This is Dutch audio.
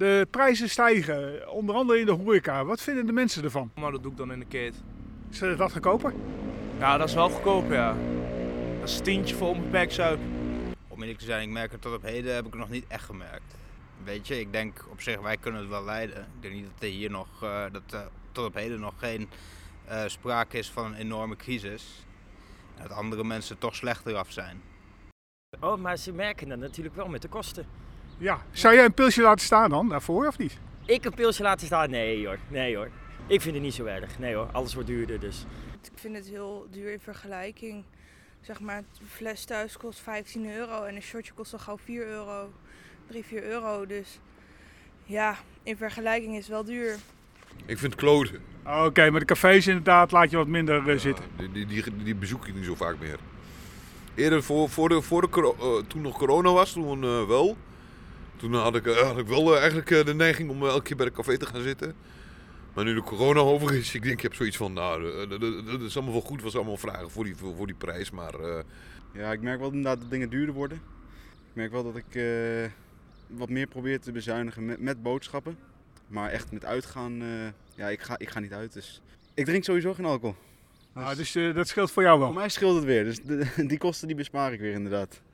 De prijzen stijgen, onder andere in de horeca. Wat vinden de mensen ervan? Maar dat doe ik dan in de keet. Is eh, dat goedkoper? Ja, dat is wel goedkoop, ja. Dat is tientje voor onbeperkt zuip. Om eerlijk te zijn, ik merk het tot op heden heb ik het nog niet echt gemerkt. Weet je, ik denk op zich, wij kunnen het wel leiden. Ik denk niet dat er hier nog, eh, dat er tot op heden nog geen eh, sprake is van een enorme crisis. Dat andere mensen toch slechter af zijn. Oh, maar ze merken dat natuurlijk wel met de kosten. Ja. Zou jij een pilsje laten staan dan, daarvoor of niet? Ik een pilsje laten staan? Nee hoor, nee hoor. Ik vind het niet zo erg. Nee hoor, alles wordt duurder dus. Ik vind het heel duur in vergelijking. Zeg maar, een fles thuis kost 15 euro en een shotje kost al gauw 4 euro. 3, 4 euro. Dus ja, in vergelijking is het wel duur. Ik vind kloten. Oké, maar de cafés inderdaad laat je wat minder eh, zitten. Ja, die, die, die, die bezoek ik niet zo vaak meer. Eerder voor, voor de, voor de, coro- eh, toen nog corona was, toen eh, wel. Toen had ik, eh, had ik wel eh, eigenlijk eh, de neiging om eh, elke keer bij de café te gaan zitten. Maar nu de corona over is, ik denk, ik heb zoiets van, nou, eh, dat- dat dat is allemaal wel goed, was allemaal vragen voor die, voor, voor die prijs. Maar eh, Ja, ik merk wel inderdaad dat dingen duurder worden. Ik merk wel dat ik eh, wat meer probeer te bezuinigen met, met boodschappen. Maar echt met uitgaan, eh, ja, ik ga, ik ga niet uit. Dus ik drink sowieso geen alcohol. Ah, dus eh, dat scheelt voor jou wel. Voor mij scheelt het weer, dus de- die kosten die bespaar ik weer inderdaad.